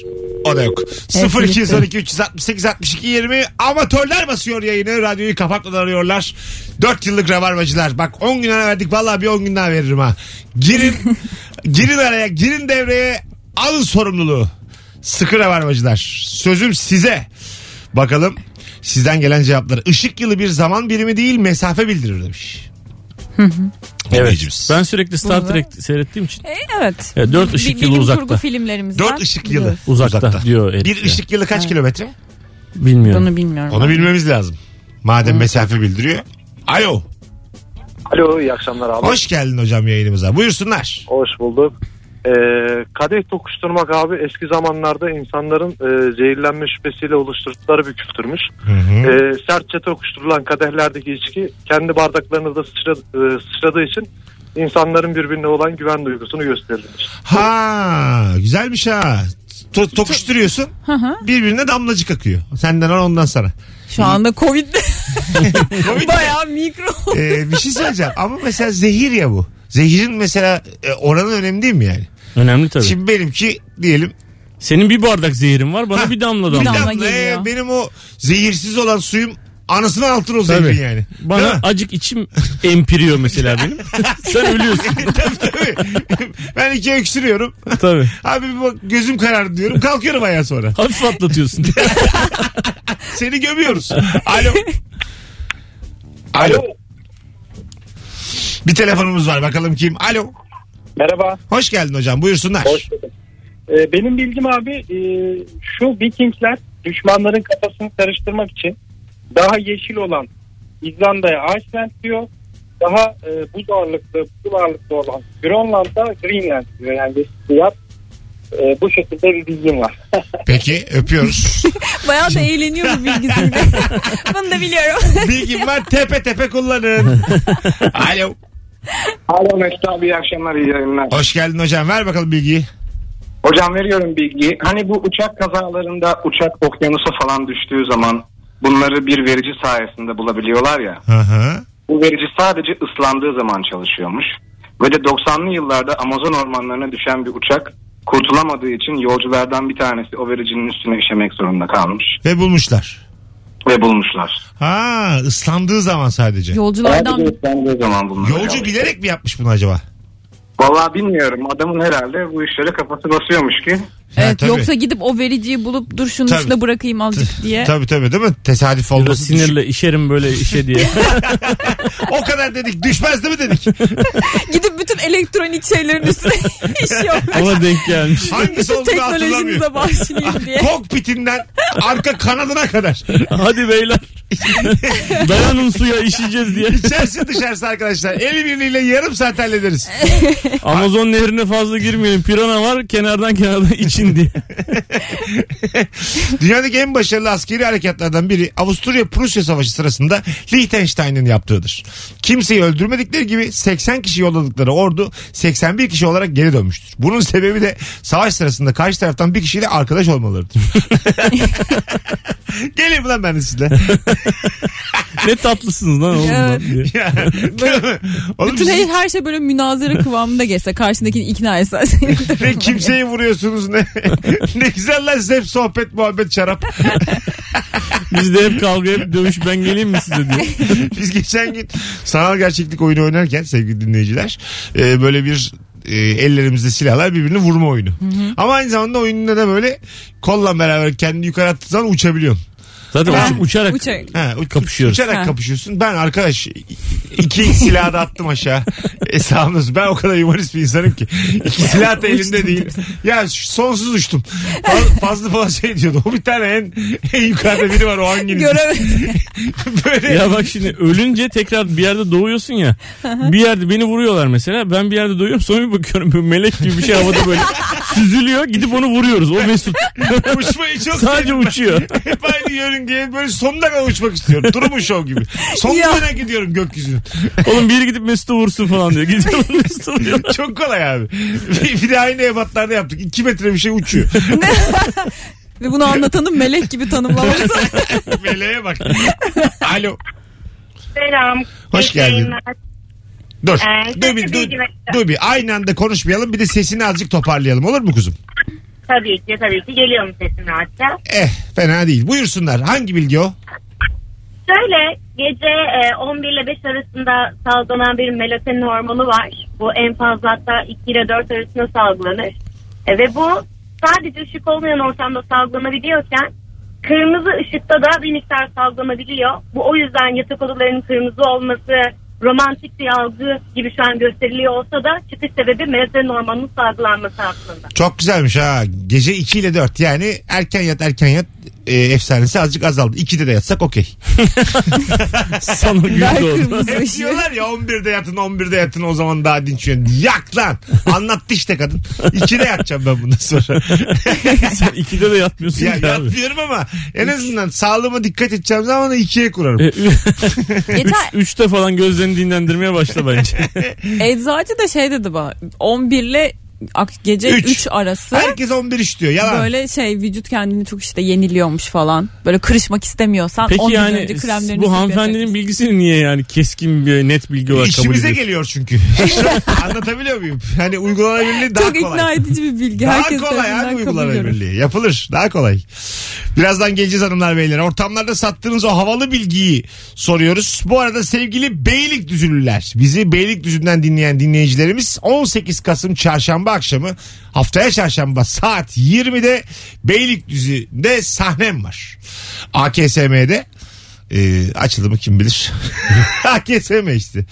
S2: O da yok.
S3: Evet,
S2: 0212 368 62 20 amatörler basıyor yayını. Radyoyu kapatmadan arıyorlar. 4 yıllık rabarbacılar. Bak 10 gün ara verdik. Vallahi bir 10 gün daha veririm ha. Girin girin araya girin devreye alın sorumluluğu. Sıkı rabarbacılar. Sözüm size. Bakalım sizden gelen cevaplar. Işık yılı bir zaman birimi değil mesafe bildirir demiş. Dinleyicimiz.
S4: Ben sürekli Star
S3: Bunu-
S4: Trek seyrettiğim için
S3: E, evet.
S4: Ya dört ışık
S3: Bi-
S4: yılı
S3: bilim
S4: uzakta.
S3: kurgu filmlerimizden.
S2: Dört ışık yılı.
S3: biliyoruz.
S4: uzakta,
S2: Uzakta.
S4: diyor herif.
S2: Bir
S4: ya.
S2: ışık yılı kaç kilometre?
S4: Bilmiyorum.
S3: Bunu bilmiyorum.
S2: Onu bilmemiz lazım. Madem mesafe bildiriyor. Alo.
S5: Alo iyi akşamlar abi.
S2: Hoş geldin hocam yayınımıza. Buyursunlar.
S5: Hoş bulduk. Ee, kadeh tokuşturmak abi eski zamanlarda insanların e, zehirlenme şüphesiyle oluşturdukları bir küftürmüş. Ee, sertçe tokuşturulan kadehlerdeki içki kendi bardaklarına da sıçra- e, sıçradığı için insanların birbirine olan güven duygusunu gösterilmiş.
S2: Ha, güzelmiş ha. To- tokuşturuyorsun.
S3: Hı hı.
S2: Birbirine damlacık akıyor. Senden ona ondan sana.
S3: Şu anda Covid
S2: Covid.
S3: bayağı mikro.
S2: Ee, bir şey söyleyeceğim ama mesela zehir ya bu. Zehirin mesela e, oranı önemli değil mi yani?
S4: Önemli tabii.
S2: Şimdi benimki diyelim
S4: Senin bir bardak zehirin var bana bir damla
S2: bir
S4: damla.
S3: damla
S2: damla, e,
S3: geliyor.
S2: benim o zehirsiz olan suyum anasını altın o
S4: Tabii.
S2: zehirin yani.
S4: Bana
S2: Değil mi?
S4: acık içim empiriyor mesela benim. Sen ölüyorsun.
S2: Tabii, tabii. ben ikiye öksürüyorum.
S4: tabii.
S2: Abi bir bak gözüm karardı diyorum. Kalkıyorum ayağa sonra.
S4: Hafif atlatıyorsun.
S2: Seni gömüyoruz. Alo. Alo. Bir telefonumuz var bakalım kim? Alo.
S8: Merhaba.
S2: Hoş geldin hocam buyursunlar.
S8: Hoş bulduk. Ee, benim bilgim abi e, şu Vikingler düşmanların kafasını karıştırmak için daha yeşil olan İzlanda'ya Iceland diyor. Daha e, buz ağırlıklı, buz ağırlıklı olan Grönland'a Greenland diyor. Yani bir siyah. E, bu şekilde bir bilgim var.
S2: Peki öpüyoruz.
S3: Bayağı da eğleniyor bu bilgisiyle. Bunu da biliyorum.
S2: Bilgim var tepe tepe kullanın. Alo.
S8: Alo Mesut abi iyi akşamlar iyi yayınlar.
S2: Hoş geldin hocam ver bakalım bilgiyi.
S8: Hocam veriyorum bilgiyi. Hani bu uçak kazalarında uçak okyanusa falan düştüğü zaman bunları bir verici sayesinde bulabiliyorlar ya.
S2: Hı hı.
S8: Bu verici sadece ıslandığı zaman çalışıyormuş. Ve de 90'lı yıllarda Amazon ormanlarına düşen bir uçak kurtulamadığı için yolculardan bir tanesi o vericinin üstüne işemek zorunda kalmış.
S2: Ve bulmuşlar.
S9: ve bulmuşlar.
S2: Ha ıslandığı zaman sadece.
S3: Yolculardan
S9: Sadece ıslandığı zaman bunlar.
S2: Yolcu bilerek mi yapmış bunu acaba?
S9: Vallahi bilmiyorum adamın herhalde bu işlere kafası basıyormuş ki.
S2: Ha,
S3: Evet,
S2: tabii.
S3: yoksa gidip o vericiyi bulup dur şunun
S2: Tabii.
S3: üstüne bırakayım azıcık diye.
S2: Tabii tabii değil mi? Tesadüf
S4: Biraz
S2: olması. düşün-
S4: sinirle işerim böyle işe diye.
S2: O kadar dedik düşmez değil mi dedik?
S3: Gidip bütün elektronik şeylerin üstüne iş yapmış.
S4: Ona denk gelmiş.
S2: Hangisi
S3: Bütün
S2: olduğunu hatırlamıyorum.
S3: teknolojinize başlayayım diye.
S2: Kokpitinden arka kanadına kadar.
S4: Hadi beyler. Dayanın suya işeyeceğiz diye.
S2: İçerisi dışarısı arkadaşlar. El birliğiyle yarım saat hallederiz.
S4: Amazon nehrine fazla girmeyelim. Pirana var kenardan kenardan için diye.
S2: Dünyadaki en başarılı askeri harekatlardan biri Avusturya-Prusya Savaşı sırasında Liechtenstein'in yaptığıdır. Kimseyi öldürmedikleri gibi 80 kişi yolladıkları ordu 81 kişi olarak geri dönmüştür. Bunun sebebi de savaş sırasında karşı taraftan bir kişiyle arkadaş olmalarıdır. Gelin lan ben de sizle.
S4: Ne tatlısınız lan oğlum. lan diye.
S2: Ya, değil mi? Oğlum
S3: Bütün
S2: siz
S3: her, her şey böyle münazara kıvamında geçse karşındakini ikna etse.
S2: ne kimseyi vuruyorsunuz ne. ne güzel lan siz hep sohbet muhabbet şarap.
S4: Biz de hep kavga hep dövüş ben geleyim mi size diye.
S2: Biz geçen gün sanal gerçeklik oyunu oynarken sevgili dinleyiciler e, böyle bir e, ellerimizde silahlar birbirini vurma oyunu. Ama aynı zamanda oyununda da böyle kolla beraber kendini yukarı attığın zaman uçabiliyorsun.
S4: Zaten
S3: Ben-
S4: uç- uçarak.
S3: Uçak.
S2: Ha, uç-
S4: Kapışıyoruz.
S2: Uçarak
S3: Ha.
S2: kapışıyorsun. Ben arkadaş iki silahı da attım aşağı. Hesabınız. Ben o kadar humorist bir insanım ki. İki silah da elimde değil. Ya şu- sonsuz uçtum. Faz- Fazlı falan şey diyordu. O bir tane en, en yukarıda biri var o hanginiz?
S3: Göremedim.
S2: Böyle
S4: Ya bak şimdi ölünce tekrar bir yerde doğuyorsun ya. bir yerde beni vuruyorlar mesela. Ben bir yerde doğuyorum sonra bir bakıyorum böyle melek gibi bir şey havada böyle süzülüyor. Gidip onu vuruyoruz. O Mesut.
S2: uçmayı çok
S4: Sadece uçuyor.
S2: Hep aynı yörüngeye böyle sonuna kadar uçmak istiyorum. Durumu şov gibi. Sonuna
S3: Ya.
S2: kadar gidiyorum gökyüzünün.
S4: Oğlum biri gidip Mesut'u vursun falan diyor. Gidiyor oğlum Mesut'u vuruyor.
S2: Çok kolay abi. Bir, bir de aynı ebatlarda yaptık. 2 metre bir şey uçuyor.
S3: Ve bunu anlatanın melek gibi tanımlaması.
S2: Meleğe bak. Alo.
S10: Selam.
S2: Hoş
S10: İyi
S2: geldin.
S10: yayınlar.
S2: Dur.
S10: Ee,
S2: dur bir,
S10: sesi
S2: dur,
S10: bilgi vereceğim.
S2: dur bir. Aynı anda konuşmayalım. Bir de sesini azıcık toparlayalım. Olur mu kuzum?
S10: Tabii ki tabii ki geliyorum sesim rahatça.
S2: Eh fena değil. Buyursunlar. Hangi bilgi o?
S10: Şöyle gece e, 11 ile 5 arasında salgılanan bir melatonin hormonu var. Bu en fazla hatta 2 ile 4 arasında salgılanır. E, ve bu sadece ışık olmayan ortamda salgılanabiliyorken kırmızı ışıkta da bir miktar salgılanabiliyor. Bu o yüzden yatak odalarının kırmızı olması romantik bir algı gibi şu an gösteriliyor olsa da çıkış sebebi melatonin hormonunun salgılanması aslında.
S2: Çok güzelmiş ha. Gece 2 ile 4 yani erken yat erken yat e, efsanesi azıcık azaldı. 2'de de yatsak okey.
S4: Sana gül
S3: Ver
S4: doğdu.
S3: kırmızı
S2: Hep
S3: ışığı.
S2: diyorlar ya 11'de yatın 11'de yatın o zaman daha dinç uyanın. Yak lan. Anlattı işte kadın. İkide yatacağım ben bundan sonra.
S4: Sen ikide de yatmıyorsun
S2: ya
S4: ki abi.
S2: yatmıyorum ama en azından sağlığıma dikkat edeceğim zaman da ikiye kurarım.
S4: E, ü- Üç,
S3: Yeter.
S4: üçte falan gözlerini dinlendirmeye başla bence.
S3: Eczacı da şey dedi bana. 11 ile ak- gece
S2: Üç.
S3: 3 arası.
S2: Herkes 11 iş diyor. Yalan.
S3: Böyle şey vücut kendini çok işte yeniliyormuş falan. Böyle kırışmak istemiyorsan
S4: Peki
S3: 11
S4: yani
S3: önce kremlerini
S4: bu
S3: sürmeye
S4: hanımefendinin
S3: çalışıyorsun.
S4: bilgisini niye yani keskin bir net bilgi olarak kabul
S2: İşimize
S4: ediyorsun?
S2: geliyor çünkü. Anlatabiliyor muyum? Hani uygulanabilirliği daha
S3: çok
S2: kolay.
S3: ikna edici bir bilgi.
S2: Daha
S3: Herkes
S2: kolay
S3: tarafından
S2: abi
S3: kabul görür.
S2: uygulanabilirliği. Yapılır. Daha kolay. Birazdan geleceğiz hanımlar beyler. Ortamlarda sattığınız o havalı bilgiyi soruyoruz. Bu arada sevgili Beylikdüzülüler. Bizi Beylikdüzü'nden dinleyen dinleyicilerimiz 18 Kasım çarşamba akşamı haftaya çarşamba saat 20'de Beylikdüzü'nde sahnem var. AKSM'de. Ee, açıldı mı kim bilir. AKSM işte.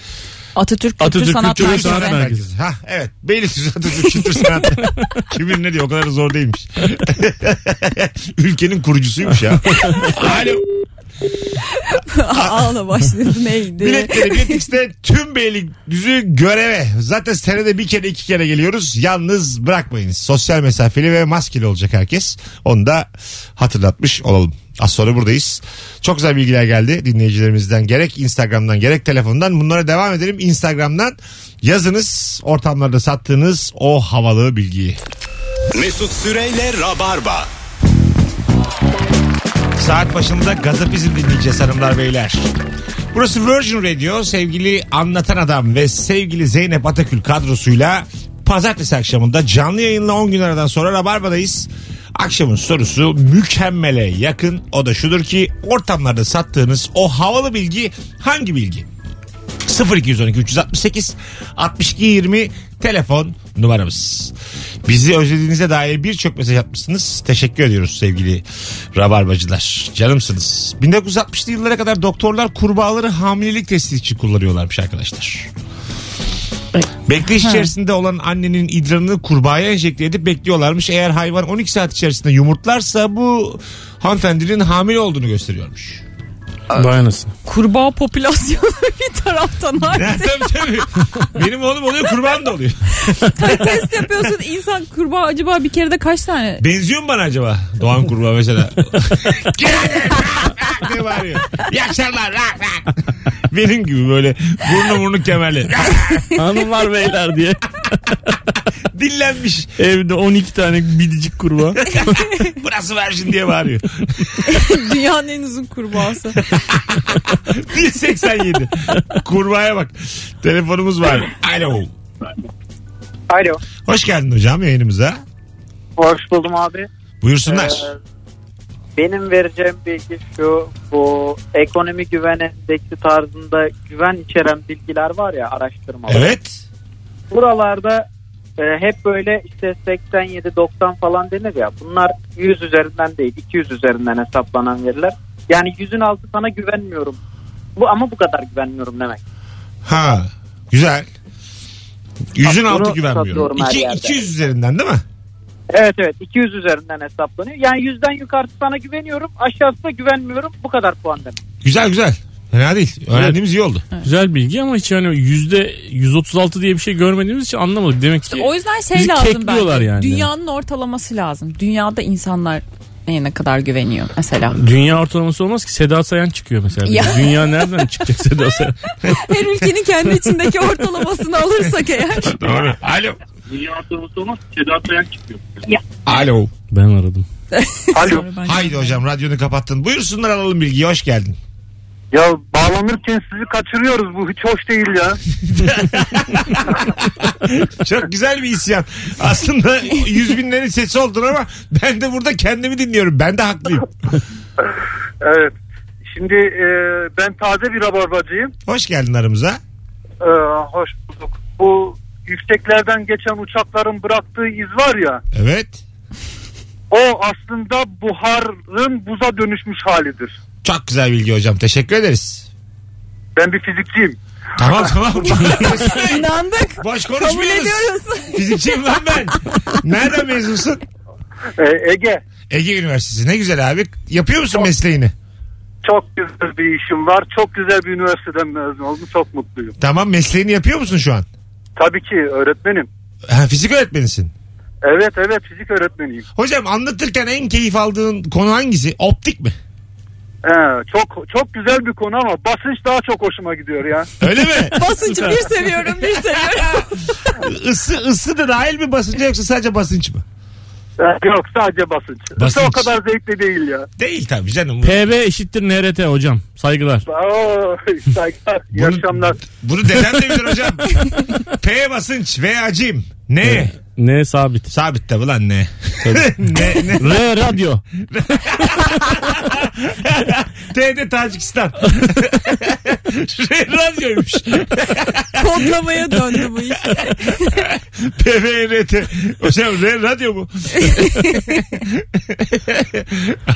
S3: Atatürk Kültür
S4: Atatürk
S3: Sanat
S4: Kültür ve
S3: Merkezi.
S4: Sanat Merkezi. Merkezi.
S2: Ha evet. Beylikdüzü Atatürk Kültür Sanat. Kimin ne diyor o kadar da zor değilmiş. Ülkenin kurucusuymuş ya. Alo.
S3: Ağla başladı neydi?
S2: Biletleri Biletix'te tüm Beylikdüzü göreve. Zaten senede bir kere iki kere geliyoruz. Yalnız bırakmayınız. Sosyal mesafeli ve maskeli olacak herkes. Onu da hatırlatmış olalım. Az sonra buradayız. Çok güzel bilgiler geldi dinleyicilerimizden. Gerek Instagram'dan gerek telefondan. Bunlara devam edelim. Instagram'dan yazınız ortamlarda sattığınız o havalı bilgiyi.
S1: Mesut Süreyle Rabarba.
S2: Saat başında gazapizm dinleyeceğiz hanımlar beyler. Burası Virgin Radio sevgili Anlatan Adam ve sevgili Zeynep Atakül kadrosuyla pazartesi akşamında canlı yayınla 10 gün aradan sonra Rabarba'dayız. Akşamın sorusu mükemmele yakın. O da şudur ki ortamlarda sattığınız o havalı bilgi hangi bilgi? 0212 368 62 20 telefon numaramız. Bizi özlediğinize dair birçok mesaj atmışsınız. Teşekkür ediyoruz sevgili rabarbacılar. Canımsınız. 1960'lı yıllara kadar doktorlar kurbağaları hamilelik testi için kullanıyorlarmış arkadaşlar. Bekleyiş içerisinde olan annenin idrarını kurbağaya enjekte edip bekliyorlarmış. Eğer hayvan 12 saat içerisinde yumurtlarsa bu hanımefendinin hamile olduğunu gösteriyormuş.
S4: Dayanasın.
S3: Kurbağa popülasyonu bir taraftan
S2: Ya,
S3: artık.
S2: tabii tabii. Benim oğlum oluyor kurban da oluyor.
S3: Hani Test yapıyorsun insan kurbağa acaba bir kere de kaç tane?
S2: Benziyor mu bana acaba? Doğan kurbağa mesela. ne bağırıyor? İyi akşamlar. rak, rak. Benim gibi böyle burnu burnu kemerli.
S4: Hanımlar beyler diye.
S2: Dillenmiş.
S4: Evde 12 tane bidicik kurbağa.
S2: Burası versin diye bağırıyor.
S3: Dünyanın en uzun kurbağası.
S2: 187. Kurbağaya bak. Telefonumuz var. Alo.
S6: Alo.
S2: Hoş geldin hocam yayınımıza.
S6: Hoş buldum abi.
S2: Buyursunlar.
S6: Ee, benim vereceğim bilgi şu bu ekonomi güven endeksi tarzında güven içeren bilgiler var ya araştırmalar.
S2: evet.
S6: Buralarda e, hep böyle işte 87-90 falan denir ya bunlar 100 üzerinden değil 200 üzerinden hesaplanan veriler. Yani yüzün altı sana güvenmiyorum. Bu ama bu kadar güvenmiyorum demek.
S2: Ha. Güzel. Yüzün
S6: Bak,
S2: altı
S6: bunu
S2: güvenmiyorum.
S6: satıyorum her
S2: İki,
S6: yerde.
S2: 200 üzerinden değil mi?
S6: Evet evet 200 üzerinden hesaplanıyor. Yani yüzden yukarısı sana güveniyorum aşağısına güvenmiyorum bu kadar puan demek.
S2: Güzel güzel. Fena değil. Öğrendiğimiz iyi oldu.
S4: Güzel bilgi ama hiç yani yüzde 136 diye bir şey görmediğimiz için anlamadık. Demek ki
S3: O yüzden şey
S4: Bizi
S3: lazım
S4: kekliyorlar
S3: bence.
S4: yani.
S3: Dünyanın ortalaması lazım. Dünyada insanlar neye ne kadar güveniyor mesela.
S4: dünya ortalaması olmaz ki Seda Sayan çıkıyor mesela.
S3: Ya.
S4: Dünya nereden çıkacak Seda Sayan?
S3: Her ülkenin kendi içindeki ortalamasını alırsak eğer.
S2: Doğru. Alo.
S6: Dünya ortalaması olmaz. Sedat Ayak çıkıyor.
S2: Alo.
S4: Ben aradım.
S5: Alo.
S2: Haydi hocam radyonu kapattın. Buyursunlar alalım bilgiyi. Hoş geldin.
S5: Ya bağlanırken sizi kaçırıyoruz. Bu hiç hoş değil ya.
S2: Çok güzel bir isyan. Aslında yüz binlerin sesi oldun ama ben de burada kendimi dinliyorum. Ben de haklıyım.
S5: Evet. Şimdi e, ben taze bir rabarbacıyım.
S2: Hoş geldin aramıza.
S5: E, hoş bulduk. Bu yükseklerden geçen uçakların bıraktığı iz var ya.
S2: Evet.
S5: O aslında buharın buza dönüşmüş halidir.
S2: Çok güzel bilgi hocam. Teşekkür ederiz.
S5: Ben bir fizikçiyim.
S2: Tamam tamam.
S3: İnandık.
S2: Boş
S3: Kabul
S2: konuşmuyoruz.
S3: ediyoruz.
S2: Fizikçiyim lan ben. Nereden mezunsun?
S5: E, Ege
S2: Ege Üniversitesi. Ne güzel abi. Yapıyor musun mesleğini?
S5: çok güzel bir işim var. Çok güzel bir üniversiteden mezun oldum. Çok mutluyum.
S2: Tamam mesleğini yapıyor musun şu an?
S5: Tabii ki öğretmenim.
S2: Ha, fizik öğretmenisin.
S5: Evet evet fizik öğretmeniyim.
S2: Hocam anlatırken en keyif aldığın konu hangisi? Optik mi?
S5: He, E, çok çok güzel bir konu ama basınç daha çok hoşuma gidiyor ya.
S2: Öyle mi?
S3: Basıncı bir seviyorum bir seviyorum.
S2: Isı, ısı da dahil mi basınca yoksa sadece basınç mı?
S5: Ee, Yok sadece basınç. E,
S2: Basınç.
S5: O kadar zevkli değil ya.
S2: Değil tabii canım.
S4: PB eşittir NRT hocam. Saygılar.
S5: Oo, saygılar, iyi
S2: Bunu-
S5: akşamlar.
S2: Bunu dedem de bilir hocam. P basınç V acim. Ne?
S4: N sabit.
S2: Sabit tabi lan ne? ne, ne?
S4: R radyo.
S2: T de Tacikistan. Radyoymuş.
S3: Kodlamaya döndü bu iş.
S2: PVRT. Hocam R radyo mu?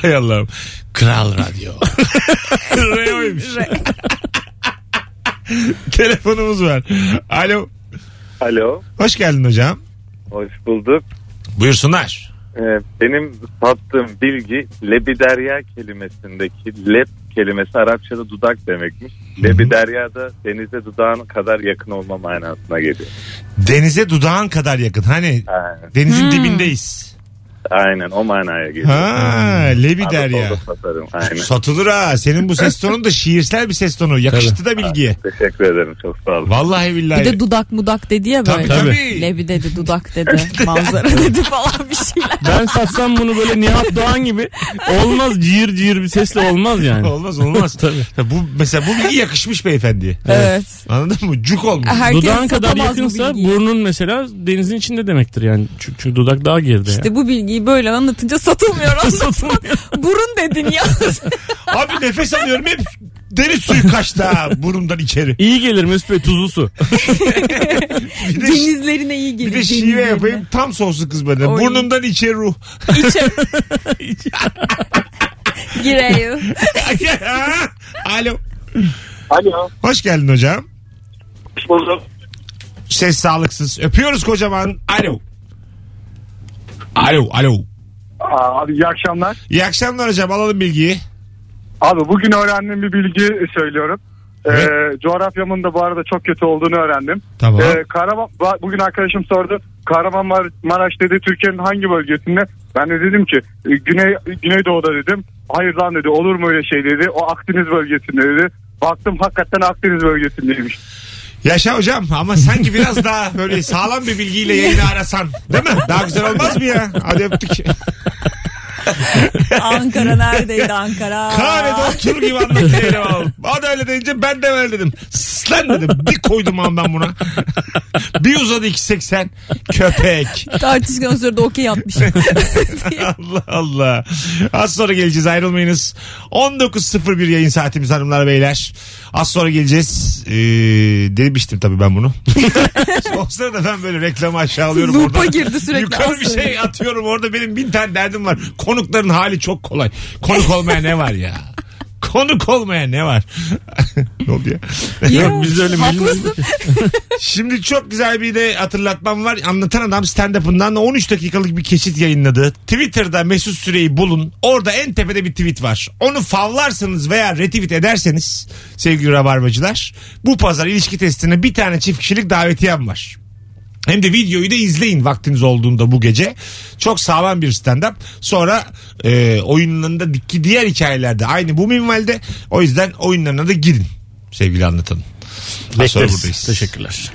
S2: Hay Allah'ım. Kral radyo. R oymuş. Telefonumuz var. Alo.
S7: Alo,
S2: Hoş geldin hocam.
S7: hoş bulduk.
S2: Buyursunlar.
S7: Ee, benim sattığım bilgi lebiderya kelimesindeki leb kelimesi Arapçada dudak demekmiş. Lebiderya da denize dudağın kadar yakın olma manasına geliyor.
S2: Denize dudağın kadar yakın. Hani
S7: Aynen,
S2: denizin dibindeyiz.
S7: aynen o manaya geliyor.
S2: Ha, lebi der ya.
S7: Anadolu'da satarım, Aynen.
S2: Satılır ha. Senin bu ses tonun da şiirsel bir ses tonu. Yakıştı da bilgiye.
S7: Teşekkür ederim çok sağ olun.
S2: Vallahi billahi.
S3: Bir de dudak mudak dedi ya
S2: Tabii,
S3: böyle.
S2: tabii.
S3: Lebi dedi dudak dedi manzara dedi falan bir şeyler.
S4: Ben satsam bunu böyle Nihat Doğan gibi olmaz cihir cihir bir sesle olmaz yani.
S2: Olmaz olmaz. Tabii. Bu, mesela bu bilgi yakışmış beyefendiye.
S3: Evet.
S2: Anladın mı? Cuk olmuş.
S3: Herkes
S4: Dudağın kadar
S3: satamaz bu
S4: yakınsa
S3: bilgiyi.
S4: burnun mesela denizin içinde demektir yani. Çünkü, çünkü dudak daha geride. ya.
S3: İşte bu bilgiyi şeyi böyle anlatınca satılmıyor. Satılmıyor. Burun dedin ya.
S2: Abi nefes alıyorum hep deri suyu kaçtı ha burumdan içeri.
S4: İyi gelir Mesut Bey tuzlu su.
S2: Bir de,
S3: Denizlerine iyi gelir.
S2: bir de şive
S3: denizlerine.
S2: yapayım tam sonsuz kız benden.
S3: Oy.
S2: Burnumdan içeri ruh.
S3: İçe. Gireyim.
S2: Alo.
S5: Alo.
S2: Hoş geldin hocam.
S5: Hoş bulduk.
S2: Ses sağlıksız. Öpüyoruz kocaman. Alo. Alo, alo.
S9: Aa, Abi iyi akşamlar.
S2: İyi akşamlar hocam. Alalım bilgiyi.
S9: Abi bugün öğrendiğim bir bilgi söylüyorum. Ee,
S2: Evet.
S9: coğrafyamın da bu arada çok kötü olduğunu öğrendim.
S2: Tamam.
S9: Ee, Kahraman, ba- bugün arkadaşım sordu. Kahramanmaraş dedi Türkiye'nin hangi bölgesinde? Ben de dedim ki e, Güney Güneydoğu'da dedim. Hayır lan dedi olur mu öyle şey dedi. O Akdeniz bölgesinde dedi. Baktım hakikaten Akdeniz bölgesindeymiş.
S2: Yaşa hocam ama sanki biraz daha böyle sağlam bir bilgiyle yayını arasan. Değil mi? Daha güzel olmaz mı ya? Hadi öptük.
S3: Ankara neredeydi Ankara?
S2: Kahvede oturur gibi anlattı Elif Hanım. O da öyle deyince ben de öyle dedim. Sıslan dedim. Bir koydum ağımdan buna. bir uzadı 2.80. Köpek.
S3: Tartışkan sırada okey yapmışım.
S2: Allah Allah. Az sonra geleceğiz ayrılmayınız. 19.01 yayın saatimiz hanımlar beyler. Az sonra geleceğiz. Ee, demiştim tabii ben bunu. o sırada ben böyle reklamı aşağılıyorum
S3: Loop'a
S2: orada.
S3: girdi sürekli.
S2: Yukarı
S3: Az
S2: bir
S3: sonra.
S2: şey atıyorum orada benim bin tane derdim var. Konukların hali çok kolay. Konuk olmaya ne var ya? Konuk olmaya ne var? ne oldu ya?
S3: Yok
S4: biz öyle
S3: Haklısın.
S2: Şimdi çok güzel bir de hatırlatmam var. Anlatan adam stand-up'ından 13 dakikalık bir kesit yayınladı. Twitter'da Mesut Süreyi bulun. Orada en tepede bir tweet var. Onu favlarsınız veya retweet ederseniz sevgili rabarbacılar bu pazar ilişki testine bir tane çift kişilik davetiyem var. Hem de videoyu da izleyin vaktiniz olduğunda bu gece. Çok sağlam bir stand-up. Sonra e, oyunlarındaki diğer hikayelerde aynı bu minvalde. O yüzden oyunlarına da girin sevgili anlatanın. Az sonra
S4: Bekleriz.
S2: buradayız.
S4: Teşekkürler.